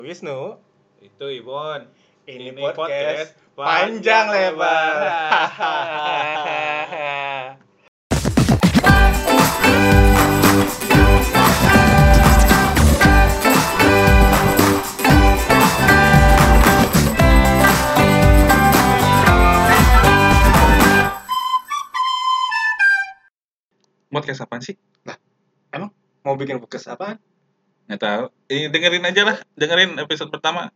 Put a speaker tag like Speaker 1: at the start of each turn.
Speaker 1: Wisnu,
Speaker 2: Itu Ibon.
Speaker 1: ini,
Speaker 2: Ini
Speaker 1: podcast,
Speaker 2: podcast
Speaker 1: panjang
Speaker 2: panjang
Speaker 1: lebar.
Speaker 2: lebar.
Speaker 3: podcast apaan sih?
Speaker 1: Mau bikin podcast apaan?
Speaker 3: Nggak tahu. Eh, dengerin aja lah, dengerin episode pertama.